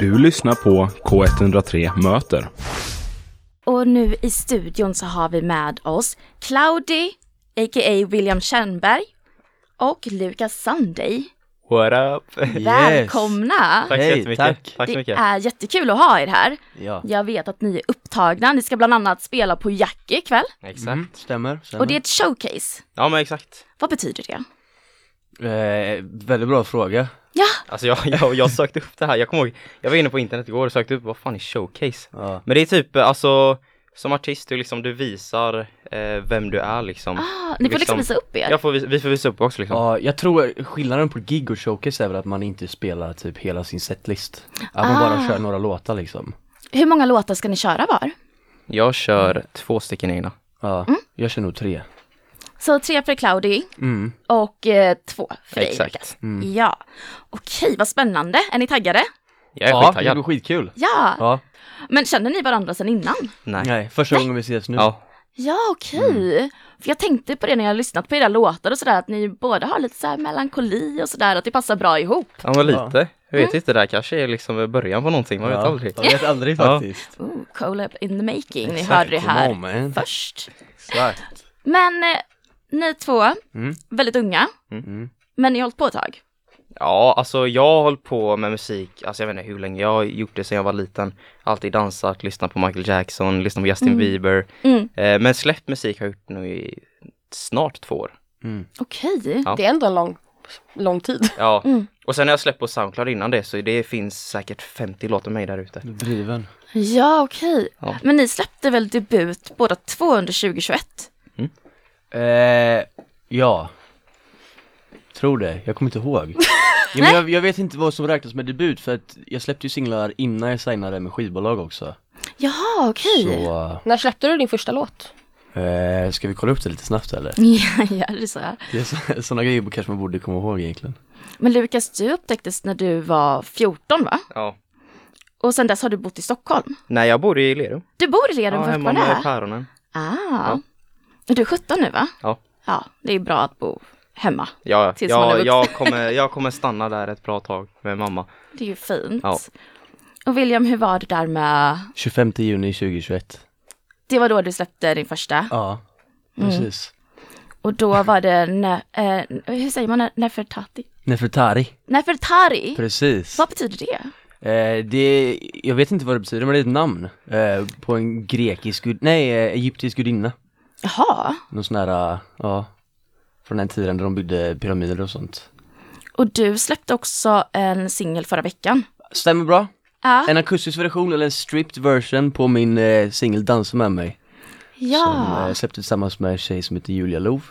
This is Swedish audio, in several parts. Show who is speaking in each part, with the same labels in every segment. Speaker 1: Du lyssnar på K103 Möter.
Speaker 2: Och nu i studion så har vi med oss Cloudy, a.k.a. William Kärnberg och Lukas Sunday.
Speaker 3: What up?
Speaker 2: Välkomna!
Speaker 3: Tack
Speaker 4: Hej,
Speaker 3: så jättemycket.
Speaker 4: tack.
Speaker 3: tack så
Speaker 2: Det
Speaker 3: mycket.
Speaker 2: är jättekul att ha er här.
Speaker 3: Mm.
Speaker 4: Ja,
Speaker 2: Jag vet att ni är upptagna. Ni ska bland annat spela på Jackie ikväll
Speaker 3: Exakt.
Speaker 4: Mm. stämmer. stämmer.
Speaker 2: och det är ett showcase.
Speaker 3: Ja men exakt.
Speaker 2: Vad betyder det?
Speaker 4: eh, väldigt bra fråga.
Speaker 2: Ja,
Speaker 3: Alltså jag, jag, jag sökte upp det här, jag kommer ihåg, jag var inne på internet igår och sökte upp vad fan är showcase?
Speaker 4: Ja.
Speaker 3: Men det är typ, alltså som artist, du liksom, du visar eh, vem du är liksom.
Speaker 2: ah, ni får liksom
Speaker 3: Liksom-
Speaker 2: visa upp er.
Speaker 3: Jag får, vis- vi får visa upp också liksom.
Speaker 4: Ja, jag tror skillnaden på gig och showcase är väl att man inte spelar typ hela sin setlist. Att man
Speaker 2: Ah.
Speaker 4: bara kör några låtar liksom.
Speaker 2: Hur många låtar ska ni köra var?
Speaker 3: Jag kör två stycken egna.
Speaker 4: Ja,
Speaker 2: Mm.
Speaker 4: jag kör nog tre.
Speaker 2: Så tre för Cloudy
Speaker 4: Mm.
Speaker 2: och eh, två för dig
Speaker 3: Exakt. Mm.
Speaker 2: Lukas. Ja, okej vad spännande. Är ni taggade?
Speaker 3: Jag är
Speaker 4: Ja, det blir
Speaker 3: skittaggad.
Speaker 4: skitkul.
Speaker 2: Ja,
Speaker 4: Ja,
Speaker 2: men känner ni varandra sedan innan?
Speaker 3: Nej.
Speaker 4: nej, första gången vi ses nu.
Speaker 3: Ja.
Speaker 2: Ja, okej. För jag tänkte på det när jag har lyssnat på era låtar och sådär, att ni båda har lite så här melankoli och sådär, att det passar bra ihop.
Speaker 3: ja men lite. Jag
Speaker 2: Mm.
Speaker 3: vet inte, det där kanske är liksom början på någonting, man vet aldrig.
Speaker 4: Jag vet aldrig
Speaker 3: Ja.
Speaker 4: faktiskt.
Speaker 2: Ooh, collab in the making, ni
Speaker 4: Exakt,
Speaker 2: hörde det här
Speaker 4: moment.
Speaker 2: först.
Speaker 4: Exakt.
Speaker 2: Men eh, ni två,
Speaker 4: Mm.
Speaker 2: väldigt unga,
Speaker 4: Mm.
Speaker 2: men ni har hållit på ett tag.
Speaker 3: Ja, alltså jag har hållit på med musik, alltså jag vet inte hur länge, jag har gjort det sedan jag var liten. Alltid dansat, lyssnat på Michael Jackson, lyssnat på Justin Bieber.
Speaker 2: Mm.
Speaker 3: Eh, men släppt musik har jag gjort nu i snart två år.
Speaker 2: Okej.
Speaker 3: Ja.
Speaker 5: Det är ändå en lång, lång tid.
Speaker 3: Ja,
Speaker 2: Mm.
Speaker 3: och sen har jag släppt på Soundcloud innan det så det finns säkert 50 låtar med mig där ute.
Speaker 4: Mm. Driven.
Speaker 2: Ja, okej.
Speaker 3: Ja.
Speaker 2: Men ni släppte väl debut båda två under 2021?
Speaker 4: Eh, ja. Tror det, jag kommer inte ihåg. ja, men jag, jag vet inte vad som räknas med debut för att jag släppte ju singlar innan jag signade med skivbolag också.
Speaker 2: Jaha, okej.
Speaker 4: Så,
Speaker 5: När släppte du din första låt?
Speaker 4: eh, ska vi kolla upp det lite snabbt eller?
Speaker 2: Ja, ja, det är så här.
Speaker 4: Det är sådana grejer kanske man borde komma ihåg egentligen.
Speaker 2: Men Lukas, du upptäcktes när du var 14 va?
Speaker 3: Ja.
Speaker 2: Och sen dess har du bott i Stockholm.
Speaker 3: Nej, jag bor i Lerum.
Speaker 2: Du bor i Lerum
Speaker 3: Ja, hemma
Speaker 2: fortfarande?
Speaker 3: med päronen.
Speaker 2: Ah. Du är 17 nu va?
Speaker 3: Ja.
Speaker 2: Ja, det är bra att bo hemma.
Speaker 3: Ja,
Speaker 2: Tills man är
Speaker 3: ja
Speaker 2: vuxen.
Speaker 3: jag, kommer, jag kommer stanna där ett bra tag med mamma.
Speaker 2: Det är ju fint.
Speaker 3: Ja.
Speaker 2: Och William, hur var det där med...
Speaker 4: 25 juni 2021.
Speaker 2: Det var då du släppte din första.
Speaker 4: Ja, precis.
Speaker 2: Och då var det... Ne- eh, hur säger man? Ne- Nefertati?
Speaker 4: Nefertari.
Speaker 2: Nefertari?
Speaker 4: Precis.
Speaker 2: Vad betyder det?
Speaker 4: Eh, det, jag vet inte vad det betyder men det är ett namn. Eh, på en grekisk, gud- nej eh, egyptisk gudinna.
Speaker 2: Jaha.
Speaker 4: Någon sån här, eh, ja. Från den tiden då de byggde pyramider och sånt.
Speaker 2: Och du släppte också en singel förra veckan. Ah,
Speaker 4: Stämmer bra.
Speaker 2: Ja.
Speaker 4: En akustisk version eller en stripped version på min eh, singel Dansa med mig. Som
Speaker 2: ja.
Speaker 4: eh, släpptes tillsammans med en tjej som heter Julia Lov.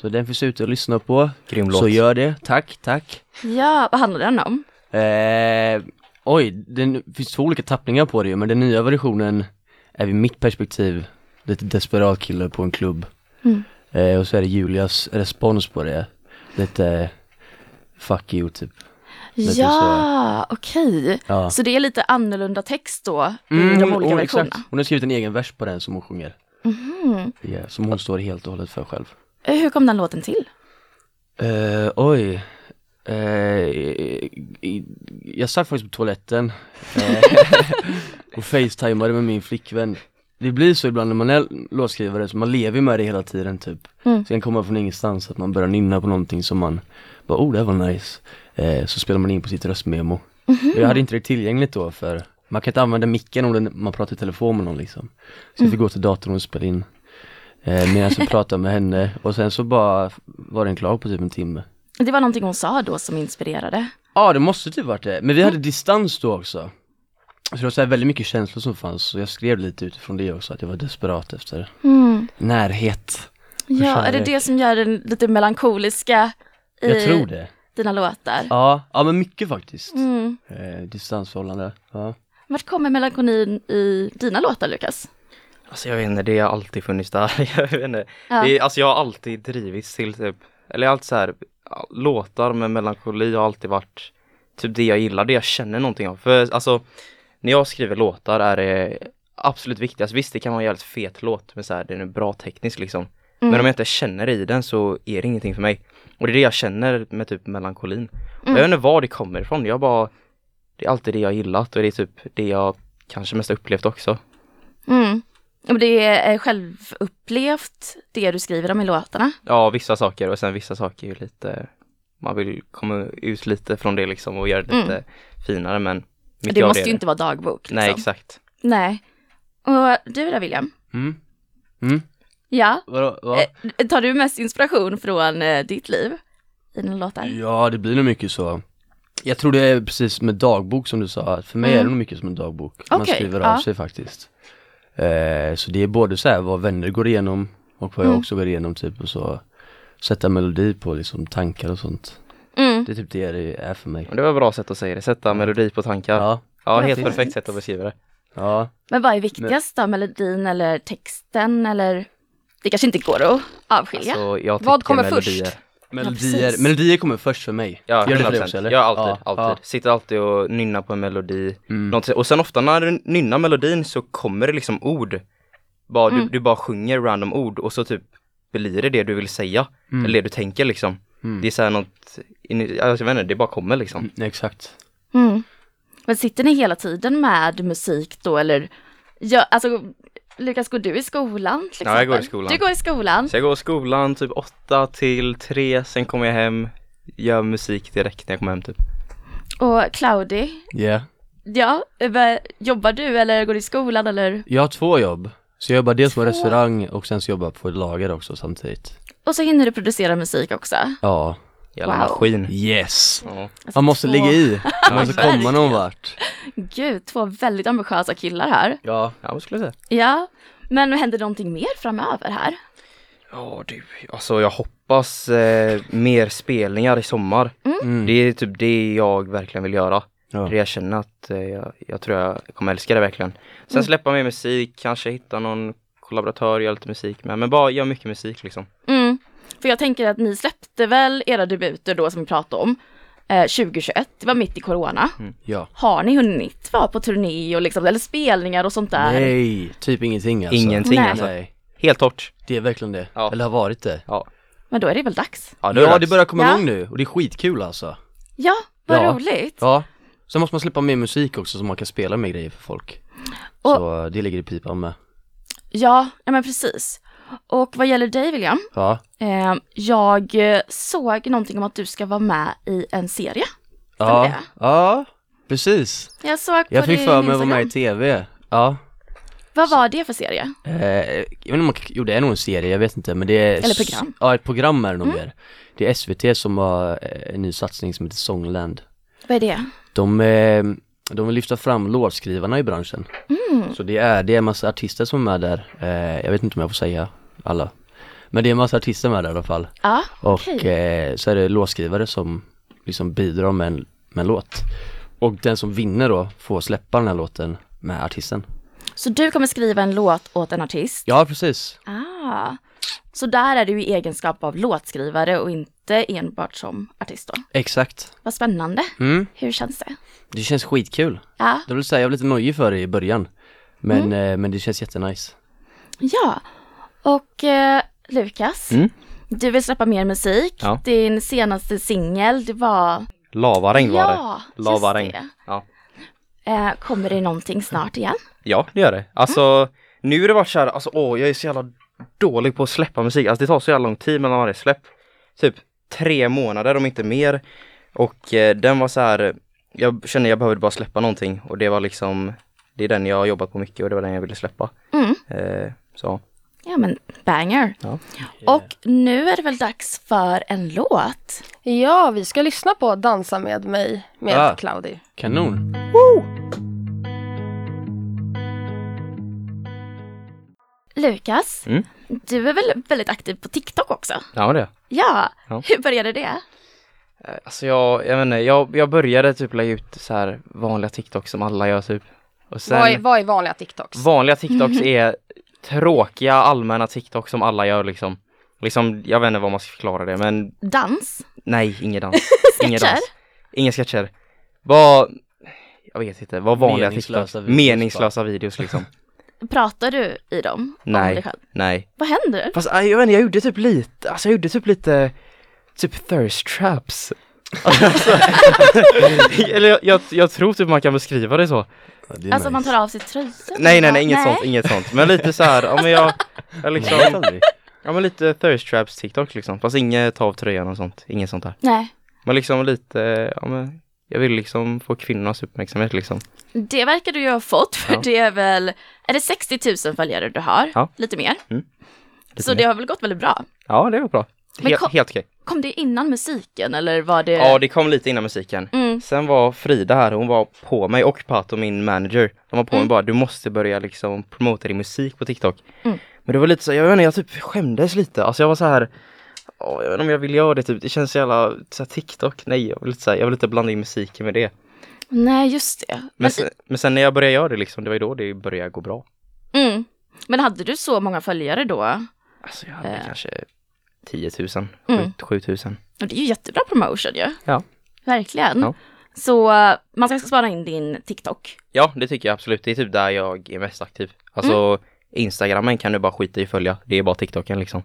Speaker 4: Så den finns ute att lyssna på.
Speaker 3: Grym låt.
Speaker 4: Så gör det, tack, tack.
Speaker 2: ja, vad handlar den om?
Speaker 4: Eh, oj, det finns två olika tappningar på det ju, men den nya versionen är vid mitt perspektiv lite desperat kille på en klubb.
Speaker 2: Mm.
Speaker 4: Eh, och så är det Julias respons på det. Lite fuck you typ. Lite
Speaker 2: Ja, okej.
Speaker 4: Ja. Mm,
Speaker 2: Så det är lite annorlunda text då i Mm, de olika versionerna.
Speaker 4: Hon har skrivit en egen vers på den som hon sjunger.
Speaker 2: Mhm.
Speaker 4: Ja, som hon står helt och hållet för själv.
Speaker 2: Eh, Hur kom den låten till?
Speaker 4: Eh, oj. Eh, i- i- jag satt faktiskt på toaletten eh, och facetimade med min flickvän. Det blir så ibland när man är låtskrivare, så man lever ju med det hela tiden typ. Mm. Sen kommer man från ingenstans att man börjar nynna på någonting som man bara, oh det här var nice. Eh, så spelar man in på sitt röstmemo. Och Jag hade inte det tillgängligt då för man kan inte använda micken om den, man pratar i telefon med någon liksom. Så jag fick gå till datorn och spela in. Eh, medan jag pratade med henne och sen så bara var den klar på typ en timme.
Speaker 2: Det var någonting hon sa då som inspirerade.
Speaker 4: Ja det måste typ varit det, men vi
Speaker 2: Mm.
Speaker 4: hade distans då också. Så det var så här väldigt mycket känslor som fanns så jag skrev lite utifrån det också att jag var desperat efter
Speaker 2: Mm.
Speaker 4: närhet.
Speaker 2: Ja, är det
Speaker 4: kärlek.
Speaker 2: det som gör den lite melankoliska i
Speaker 4: Jag tror det.
Speaker 2: dina låtar?
Speaker 4: Ja, ja men mycket faktiskt.
Speaker 2: Mm.
Speaker 4: Eh, distansförhållande. Ja.
Speaker 2: Vart kommer melankolin i dina låtar, Lukas?
Speaker 3: Alltså jag vet inte, det har alltid funnits där. Jag vet inte.
Speaker 2: Ja.
Speaker 3: Det är, alltså jag har alltid drivits till typ, eller allt så här, låtar med melankoli har alltid varit typ det jag gillar, det jag känner någonting av. För alltså, när jag skriver låtar är det absolut viktigast. Visst, det kan vara en jävligt fet låt, men så här, den är bra tekniskt liksom. Men om jag inte känner i den så är det ingenting för mig. Och det är det jag känner med typ melankolin. Och jag vet inte var det kommer ifrån, jag bara det är alltid det jag gillat och det är typ det jag kanske mest upplevt också.
Speaker 2: Mm. Och det är självupplevt det du skriver om i låtarna.
Speaker 3: Ja, vissa saker och sen vissa saker är ju lite, man vill komma ut lite från det liksom och göra det
Speaker 2: Mm.
Speaker 3: lite finare men mycket
Speaker 2: det
Speaker 3: av
Speaker 2: måste
Speaker 3: är
Speaker 2: ju inte vara dagbok. Liksom.
Speaker 3: Nej, exakt.
Speaker 2: Nej. Och du då William?
Speaker 4: Mm.
Speaker 2: Ja.
Speaker 4: Vadå, va?
Speaker 2: Eh, Tar du mest inspiration från eh, ditt liv i dina låtar?
Speaker 4: Ja det blir nog mycket så Jag tror det är precis med dagbok som du sa, att för mig
Speaker 2: Mm.
Speaker 4: är det nog mycket som en dagbok Man
Speaker 2: Okej,
Speaker 4: skriver
Speaker 2: ja.
Speaker 4: av sig faktiskt eh, Så det är både så här vad vänner går igenom och vad jag
Speaker 2: Mm.
Speaker 4: också går igenom typ och så Sätta melodi på liksom tankar och sånt
Speaker 2: Mm.
Speaker 4: Det är typ det det är för mig
Speaker 3: Men det var ett bra sätt att säga det, sätta melodi på tankar. Ja,
Speaker 4: Mm. Ja,
Speaker 3: helt
Speaker 2: precis.
Speaker 3: perfekt sätt att beskriva det.
Speaker 4: ja
Speaker 2: Men vad är viktigast då? Melodin eller texten eller? Det kanske inte går att avskilja.
Speaker 3: Så jag
Speaker 5: Vad
Speaker 3: tycker
Speaker 5: kommer
Speaker 3: melodier.
Speaker 5: först?
Speaker 4: Melodier,
Speaker 2: precis.
Speaker 4: melodier kommer först för mig
Speaker 3: Ja,
Speaker 4: Gör det för
Speaker 3: 100%.
Speaker 4: dig också eller?
Speaker 3: Ja, alltid.
Speaker 4: Ja,
Speaker 3: alltid. Sitter alltid och nynnar på en melodi.
Speaker 4: ja. Mm.
Speaker 3: Någonting- Och sen ofta när du nynnar melodin så kommer det liksom ord. Bara, du,
Speaker 2: Mm.
Speaker 3: du bara sjunger random ord och så typ blir det det du vill säga.
Speaker 4: Mm.
Speaker 3: Eller det du tänker liksom.
Speaker 4: Mm.
Speaker 3: Det är såhär något, in- jag vet inte, det bara kommer liksom.
Speaker 4: Mm, Exakt
Speaker 2: Mm. Men sitter ni hela tiden med musik då eller? Ja, alltså, Lukas, går du i skolan? till
Speaker 3: Ja, jag
Speaker 2: exempel?
Speaker 3: går i skolan.
Speaker 2: Du går i skolan?
Speaker 3: Så jag går i skolan typ 8 till 3, sen kommer jag hem, gör musik direkt när jag kommer hem typ.
Speaker 2: Och Claudi,
Speaker 4: yeah.
Speaker 2: ja, vad- jobbar du eller går du i skolan eller?
Speaker 4: Jag har två jobb Så jag jobbar dels på
Speaker 2: Två?
Speaker 4: restaurang och sen så jobbar jag på ett lager också samtidigt
Speaker 2: Och så hinner du producera musik också.
Speaker 4: Ja
Speaker 3: Jävla
Speaker 2: Wow.
Speaker 3: maskin.
Speaker 4: Yes!
Speaker 3: Ja.
Speaker 2: Alltså,
Speaker 4: Man måste
Speaker 2: två-
Speaker 4: ligga i, man måste
Speaker 3: exakt.
Speaker 4: komma någon vart
Speaker 2: Gud, två väldigt ambitiösa killar här.
Speaker 4: Ja,
Speaker 3: ja, vad skulle jag säga?
Speaker 2: Ja, men händer någonting mer framöver här?
Speaker 3: Ja du, alltså jag hoppas eh, mer spelningar i sommar.
Speaker 4: mm.
Speaker 3: Det är typ det jag verkligen vill göra.
Speaker 4: ja.
Speaker 3: Det jag känner att eh, jag, jag tror jag kommer älska det verkligen. Sen
Speaker 2: Mm.
Speaker 3: släppa mer musik, kanske hitta någon kollaboratör jag gör lite musik med. Men bara göra mycket musik liksom.
Speaker 2: Mm. För jag tänker att ni släppte väl era debuter då som vi pratade om, eh, 2021, det var mitt i corona.
Speaker 4: ja.
Speaker 2: Har ni hunnit vara på turné och liksom, eller spelningar och sånt där?
Speaker 4: Nej, typ ingenting alltså
Speaker 3: Ingenting
Speaker 2: Nej.
Speaker 3: alltså.
Speaker 4: Nej,
Speaker 3: Helt torrt.
Speaker 4: det är verkligen det,
Speaker 3: Ja.
Speaker 4: eller har varit det
Speaker 3: Ja.
Speaker 2: Men då är det väl dags?
Speaker 3: Ja, nu är
Speaker 4: Ja det
Speaker 3: dags.
Speaker 4: börjar komma
Speaker 2: Ja.
Speaker 4: igång nu och det är skitkul alltså
Speaker 2: Ja, vad
Speaker 4: Ja.
Speaker 2: roligt!
Speaker 4: Ja Sen måste man släppa mer musik också så man kan spela med grejer för folk
Speaker 2: Och-
Speaker 4: Så det ligger i pipan med
Speaker 2: Ja, ja men precis. Och vad gäller dig William,
Speaker 4: Ja,
Speaker 2: eh, jag eh, såg någonting om att du ska vara med i en serie.
Speaker 4: ja,
Speaker 2: det?
Speaker 4: ja precis
Speaker 2: Jag såg på
Speaker 4: Jag fick
Speaker 2: din
Speaker 4: för mig att
Speaker 2: Instagram.
Speaker 4: vara med i tv, ja
Speaker 2: Vad var det för serie?
Speaker 4: Eh, jag vet inte om man, jo det är nog en serie, jag vet inte men det är
Speaker 2: Eller program. Mm.
Speaker 4: Ja ett program är det nog mer Det är SVT som har eh, en ny satsning som heter Songland
Speaker 2: Vad är det?
Speaker 4: De, eh, de vill lyfta fram låtskrivarna i branschen
Speaker 2: Mm.
Speaker 4: Så det är, det är en massa artister som är med där eh, Jag vet inte om jag får säga alla Men det är en massa artister med där i alla fall
Speaker 2: Ja,
Speaker 4: Och
Speaker 2: okej.
Speaker 4: eh, så är det låtskrivare som liksom bidrar med en, med en låt Och den som vinner då får släppa den här låten med artisten
Speaker 2: Så du kommer skriva en låt åt en artist?
Speaker 4: Ja precis
Speaker 2: Ah. Så där är du i egenskap av låtskrivare och inte enbart som artist då?
Speaker 4: Exakt
Speaker 2: Vad spännande.
Speaker 4: mm.
Speaker 2: Hur känns det?
Speaker 4: Det känns skitkul.
Speaker 2: Ja,
Speaker 4: Det vill säga, jag var lite nojig för det i början. Men,
Speaker 2: Mm.
Speaker 4: eh, men det känns jättenice.
Speaker 2: ja. Och eh, Lukas,
Speaker 3: Mm.
Speaker 2: du vill släppa mer musik.
Speaker 3: Ja.
Speaker 2: Din senaste singel, det var...
Speaker 3: Lavaregn var det.
Speaker 2: Ja, just
Speaker 3: Lavaregn.
Speaker 2: det.
Speaker 3: Ja.
Speaker 2: Eh, kommer det någonting snart igen?
Speaker 3: Ja, det gör det. Alltså, nu har det varit så här, alltså åh, jag är så jävla dålig på att släppa musik. Alltså det tar så jävla lång tid mellan varje släpp. Typ tre månader om inte mer. Och eh, den var så här, jag kände jag behövde bara släppa någonting och det var liksom, det är den jag har jobbat på mycket och det var den jag ville släppa.
Speaker 2: Mm.
Speaker 3: Eh, så,
Speaker 2: Ja men banger.
Speaker 3: Ja.
Speaker 2: Och nu är det väl dags för en låt?
Speaker 5: Ja, vi ska lyssna på Dansa med mig med
Speaker 4: Ah.
Speaker 5: Cloudy.
Speaker 4: Kanon.
Speaker 2: Lukas,
Speaker 3: Mm.
Speaker 2: du är väl väldigt aktiv på TikTok också?
Speaker 3: ja det.
Speaker 2: Ja,
Speaker 3: Ja.
Speaker 2: hur började det?
Speaker 3: Eh, Alltså jag, jag vet inte, jag, jag började typ lägga ut så här vanliga TikToks som alla gör typ. Och sen,
Speaker 5: Vad, är, vad är vanliga TikToks?
Speaker 3: Vanliga TikToks är tråkiga allmänna TikToks som alla gör liksom. Liksom, jag vet inte vad man ska förklara det men
Speaker 2: Dans?
Speaker 3: nej, ingen dans. ingen
Speaker 2: Sketcher?
Speaker 3: dans. Inga sketcher. Vad, jag vet inte, vad vanliga
Speaker 4: Meningslösa
Speaker 3: TikToks.
Speaker 4: videos
Speaker 3: meningslösa videos liksom.
Speaker 2: Pratar du i dem? Om dig
Speaker 3: nej,
Speaker 2: själv?
Speaker 3: nej.
Speaker 2: Vad händer?
Speaker 3: Fast aj, jag vet inte, jag gjorde typ lite, alltså jag gjorde typ lite, typ thirst traps. Eller jag, jag, jag tror typ man kan beskriva det så.
Speaker 4: Ja, det är
Speaker 2: Alltså
Speaker 4: nice.
Speaker 2: man tar av sig tröjan.
Speaker 3: Nej nej nej inget sånt, inget sånt. Men lite så här, ja men jag, jag liksom,
Speaker 4: aldrig.
Speaker 3: ja men lite thirst traps TikTok liksom. Fast inget ta av tröjan och sånt, inget sånt där.
Speaker 2: Nej.
Speaker 3: Men liksom lite, ja men jag vill liksom få kvinnornas uppmärksamhet liksom.
Speaker 2: Det verkar du ju ha fått för
Speaker 3: Ja.
Speaker 2: det är väl, är det 60 000 följare du har?
Speaker 3: Ja. Mm.
Speaker 2: Lite mer.
Speaker 3: Lite
Speaker 2: så
Speaker 3: mer.
Speaker 2: det har väl gått väldigt bra.
Speaker 3: Ja det var bra.
Speaker 2: Men
Speaker 3: Helt,
Speaker 2: kom-
Speaker 3: helt okej.
Speaker 2: Kom det innan musiken eller var det?
Speaker 3: Ja det kom lite innan musiken.
Speaker 2: Mm.
Speaker 3: Sen var Frida här, hon var på mig och Pato, min manager. De var på mig bara, du måste börja liksom promota din musik på TikTok.
Speaker 2: Mm.
Speaker 3: Men det var lite så, jag vet inte, jag typ skämdes lite. Alltså jag var så här, åh, jag vet inte om jag vill göra det typ. Det känns så jävla, så här, TikTok, nej. Jag vill, inte, så här, jag vill inte blanda in musiken med det.
Speaker 2: Nej, just det. Men,
Speaker 3: Men sen, men sen när jag började göra det liksom, det var ju då det började gå bra.
Speaker 2: mm. Men hade du så många följare då?
Speaker 3: Alltså jag hade
Speaker 2: Eh.
Speaker 3: kanske 10 000,
Speaker 2: Mm.
Speaker 3: 7 000.
Speaker 2: Och det är ju jättebra promotion ju.
Speaker 3: Ja.
Speaker 2: Verkligen.
Speaker 3: Ja.
Speaker 2: Så eh, man ska spara in din TikTok.
Speaker 3: Ja, det tycker jag absolut. Det är typ där jag är mest aktiv. Alltså Instagrammen kan du bara skita i att följa. Det är bara TikToken liksom.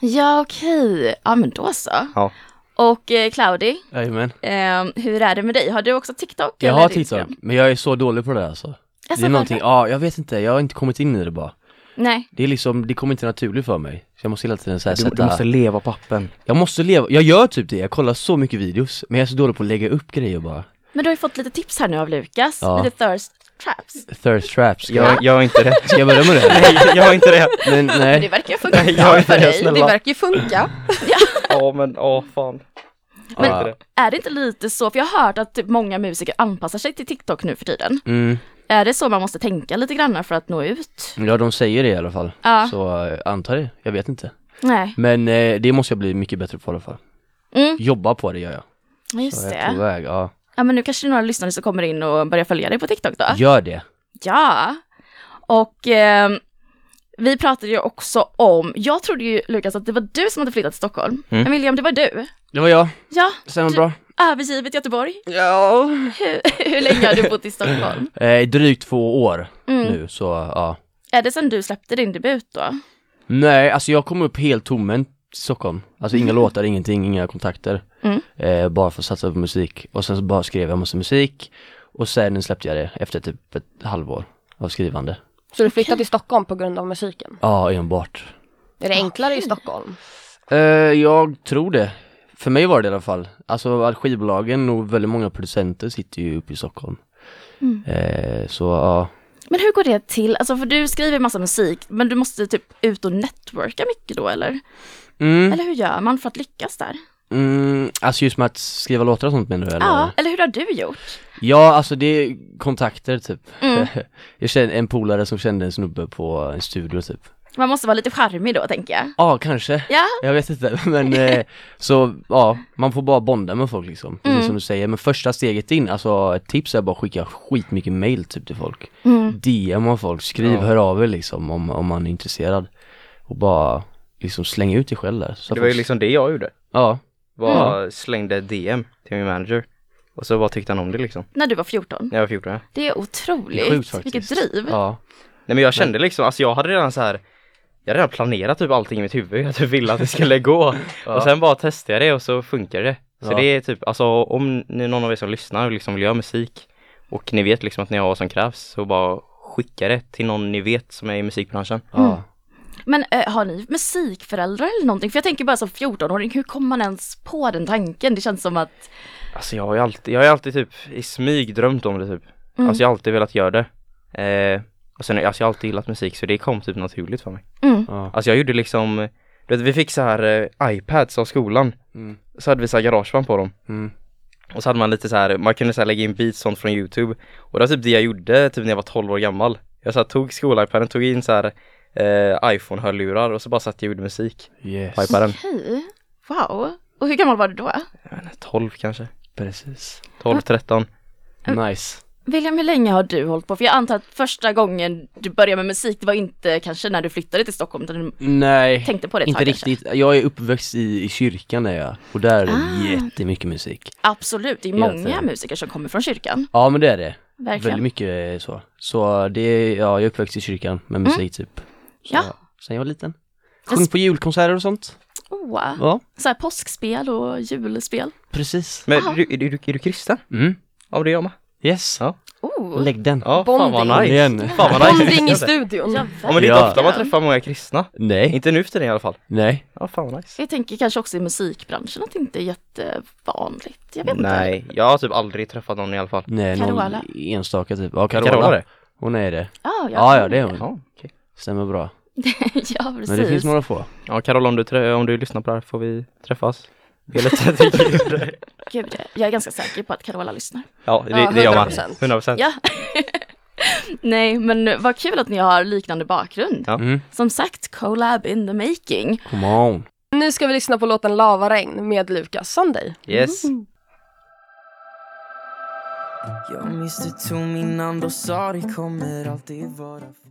Speaker 2: Ja, okej. Ja, men då så.
Speaker 3: Ja.
Speaker 2: Och eh, Claudi,
Speaker 4: Jajamän.
Speaker 2: eh, hur är det med dig? Har du också TikTok?
Speaker 4: Jag
Speaker 2: eller
Speaker 4: har
Speaker 2: Instagram?
Speaker 4: TikTok, men jag är så dålig på det där alltså.
Speaker 2: Alltså,
Speaker 4: Det är någonting,
Speaker 2: varför?
Speaker 4: ja jag vet inte, jag har inte kommit in i det bara.
Speaker 2: Nej.
Speaker 4: Det är liksom, det kommer inte naturligt för mig. Så jag måste hela tiden så här
Speaker 3: Du,
Speaker 4: sätta,
Speaker 3: du måste leva på appen.
Speaker 4: jag måste leva, jag gör typ det, jag kollar så mycket videos, men jag är så dålig på att lägga upp grejer bara.
Speaker 2: Men du har ju fått lite tips här nu av Lukas.
Speaker 4: Ja.
Speaker 2: Lite thirst traps.
Speaker 4: Thirst traps, ska,
Speaker 3: Jag, jag är inte det.
Speaker 4: ska jag börja med det?
Speaker 3: Nej, jag är inte det.
Speaker 4: Men
Speaker 2: Men det
Speaker 4: nej,
Speaker 2: verkar ju funka
Speaker 3: Nej, jag
Speaker 2: bra
Speaker 3: är
Speaker 2: för
Speaker 3: inte
Speaker 2: dig.
Speaker 3: snäll.
Speaker 5: Det verkar ju funka.
Speaker 3: Ja men, ja fan. Jag är
Speaker 4: Ja.
Speaker 3: inte det.
Speaker 2: Är det inte lite så, för jag har hört att typ många musiker anpassar sig till TikTok nu för tiden.
Speaker 4: mm,
Speaker 2: Är det så man måste tänka lite grann för att nå ut?
Speaker 4: ja de säger det i alla fall.
Speaker 2: Ja.
Speaker 4: Så eh, antar det, jag vet inte.
Speaker 2: Nej.
Speaker 4: Men eh, det måste jag bli mycket bättre på i alla fall.
Speaker 2: Mm.
Speaker 4: Jobba på det gör jag.
Speaker 2: Ja,
Speaker 4: Så
Speaker 2: Just
Speaker 4: jag är på
Speaker 2: det.
Speaker 4: väg, ja.
Speaker 2: Ja, men nu kanske det är några lyssnare som kommer in och börjar följa dig på TikTok då.
Speaker 4: Gör det.
Speaker 2: Ja. Och ehm, vi pratade ju också om, jag trodde ju Lukas att det var du som hade flyttat till Stockholm.
Speaker 4: Mm.
Speaker 2: Men William, det var du.
Speaker 4: Det var jag,
Speaker 2: Ja,
Speaker 4: stämmer bra.
Speaker 2: övergivet Göteborg.
Speaker 4: Ja.
Speaker 2: Hur, hur länge har du bott i Stockholm?
Speaker 4: Eh, drygt två år
Speaker 2: Mm.
Speaker 4: nu så ja.
Speaker 2: Är det sen du släppte din debut då?
Speaker 4: Nej, alltså jag kom upp helt tomhänt till Stockholm. Alltså inga låtar, ingenting, inga kontakter.
Speaker 2: Mm.
Speaker 4: Eh, bara för att satsa på musik. Och sen så bara skrev jag massa musik. Och sen släppte jag det efter typ ett halvår av skrivande.
Speaker 5: Så du flyttade till Stockholm på grund av musiken.
Speaker 4: Ja, enbart.
Speaker 5: Är det enklare i Stockholm?
Speaker 4: Eh, jag tror det. För mig var det i alla fall. Alltså skivbolagen och väldigt många producenter sitter ju uppe i Stockholm.
Speaker 2: Mm.
Speaker 4: Eh, så ja.
Speaker 2: Men hur går det till? Alltså för du skriver massa musik, men du måste typ ut och networka mycket då eller?
Speaker 4: Mm,
Speaker 2: Eller hur gör man för att lyckas där?
Speaker 4: mm, alltså just med att skriva låtar och sånt menar du eller?
Speaker 2: Ja, eller hur har du gjort?
Speaker 4: Ja, alltså det är kontakter typ.
Speaker 2: Mm.
Speaker 4: jag känner en polare som kände en snubbe på en studio typ.
Speaker 2: Man måste vara lite charmig då tänker jag.
Speaker 4: Ja, kanske.
Speaker 2: Ja,
Speaker 4: Jag vet inte, men eh, så ja, man får bara bonda med folk liksom.
Speaker 2: Mm.
Speaker 4: Precis som du säger, men första steget in, alltså ett tips är bara att skicka skitmycket mail typ till folk.
Speaker 2: Mm.
Speaker 4: DM av folk, skriv, hör av er liksom om, om man är intresserad. Och bara liksom slänga ut dig själv där. Så
Speaker 3: Det var ju
Speaker 4: folk-
Speaker 3: liksom det jag gjorde.
Speaker 4: Ja,
Speaker 3: Bara slängde DM till min manager. Och så bara tyckte han om det liksom.
Speaker 2: när du var 14.
Speaker 3: När jag var 14 ja.
Speaker 2: Det är
Speaker 4: det
Speaker 2: otroligt.
Speaker 4: är sjukt faktiskt.
Speaker 2: Vilket driv.
Speaker 4: Ja.
Speaker 3: Nej men jag kände liksom, alltså jag hade redan så här. Jag hade redan planerat typ allting i mitt huvud, jag typ ville att det skulle gå. Och sen bara testade jag det och så funkar det. Så
Speaker 4: Ja.
Speaker 3: det är typ, alltså om ni, någon av er som lyssnar liksom vill göra musik och ni vet liksom att ni har vad som krävs så bara skicka det till någon ni vet som är i musikbranschen.
Speaker 2: Mm.
Speaker 4: ja.
Speaker 2: Men eh, har ni musikföräldrar eller någonting? För jag tänker bara som 14-åring, hur kommer man ens på den tanken? Det känns som att,
Speaker 3: Alltså jag har ju alltid, jag har ju alltid typ i smyg drömt om det typ.
Speaker 2: Mm.
Speaker 3: Alltså jag har alltid velat göra det. Eh, och sen, alltså jag har alltid gillat musik så det kom typ naturligt för mig.
Speaker 2: mm,
Speaker 4: ja.
Speaker 3: Alltså jag gjorde liksom, du vet vi fick så här eh, iPads av skolan.
Speaker 4: Mm.
Speaker 3: Så hade vi så här garageband på dem.
Speaker 4: Mm.
Speaker 3: Och så hade man lite så här, man kunde så här lägga in beats sånt från youtube. Och det var typ det jag gjorde typ när jag var 12 år gammal. Jag så här, tog skol-iPaden, tog in så här eh, iPhone-hörlurar och så bara satt jag och gjorde musik på
Speaker 4: Yes,
Speaker 3: iPaden.
Speaker 2: okej, wow. Och hur gammal var du då?
Speaker 3: Jag vet inte, 12 kanske,
Speaker 4: precis.
Speaker 3: 12, 13.
Speaker 2: Mm.
Speaker 4: Nice.
Speaker 2: William, hur länge har du hållit på? För jag antar att första gången du började med musik, det var inte kanske när du flyttade till Stockholm, utan du
Speaker 4: Nej.
Speaker 2: tänkte på det ett
Speaker 4: Inte
Speaker 2: tag kanske.
Speaker 4: riktigt, jag är uppväxt i, i kyrkan är jag och där är det
Speaker 2: Ah.
Speaker 4: jättemycket musik
Speaker 2: Absolut, det är
Speaker 4: Hela
Speaker 2: många
Speaker 4: tiden.
Speaker 2: musiker som kommer från kyrkan.
Speaker 4: Ja men det är det,
Speaker 2: Verkligen.
Speaker 4: väldigt mycket eh, så Så det, är- ja jag är uppväxt i kyrkan med musik typ så,
Speaker 2: Mm. Ja.
Speaker 4: Sen jag var liten
Speaker 2: Men
Speaker 4: Sjung på julkonserter och sånt
Speaker 2: Oh,
Speaker 4: Ja,
Speaker 2: så här påskspel och julspel.
Speaker 4: precis.
Speaker 3: Men
Speaker 2: Jaha.
Speaker 3: är du, är, du, är du kristen?
Speaker 4: Mm.
Speaker 3: Ja, det är jag med.
Speaker 4: Yes.
Speaker 3: Ja.
Speaker 2: Oh,
Speaker 4: Lägg den.
Speaker 3: Ja, fan
Speaker 5: Bonding.
Speaker 3: vad nice.
Speaker 4: Igen.
Speaker 3: Fan vad
Speaker 5: Bonding i
Speaker 3: nice.
Speaker 5: studion.
Speaker 2: ja,
Speaker 3: Ja men det är inte
Speaker 4: Ja.
Speaker 3: ofta man träffar många kristna.
Speaker 4: Nej.
Speaker 3: Inte nu för tiden i alla fall.
Speaker 4: Nej.
Speaker 3: Ja, fan vad nice.
Speaker 2: Jag tänker kanske också i musikbranschen att det inte är jättevanligt. Jag vet inte.
Speaker 3: Nej, jag har typ aldrig träffat någon i alla fall.
Speaker 4: Nej, någon
Speaker 2: Carola.
Speaker 4: enstaka typ. Ja, Carola.
Speaker 3: Carola det?
Speaker 4: Hon är det.
Speaker 2: Ah,
Speaker 4: Ja, ja, det är hon.
Speaker 3: Ja, okej.
Speaker 4: Stämmer bra.
Speaker 2: ja,
Speaker 4: Men det
Speaker 2: precis.
Speaker 4: finns några få.
Speaker 3: Ja, Carola om du, trä- om du lyssnar på det här får vi träffas. Vi är lite till-
Speaker 2: Gud, jag är ganska säker på att Carola lyssnar.
Speaker 3: ja, det,
Speaker 5: Ja,
Speaker 3: det är jag med.
Speaker 5: 100%.
Speaker 3: 100%.
Speaker 2: Ja. Nej, men vad kul att ni har liknande bakgrund.
Speaker 3: Ja.
Speaker 4: Mm.
Speaker 2: Som sagt, collab in the making.
Speaker 4: Come on.
Speaker 5: Nu ska vi lyssna på låten Lavaregn med Lukas Sunday.
Speaker 3: Yes.
Speaker 6: Jag minns du tog min hand och sa det kommer alltid vara fint.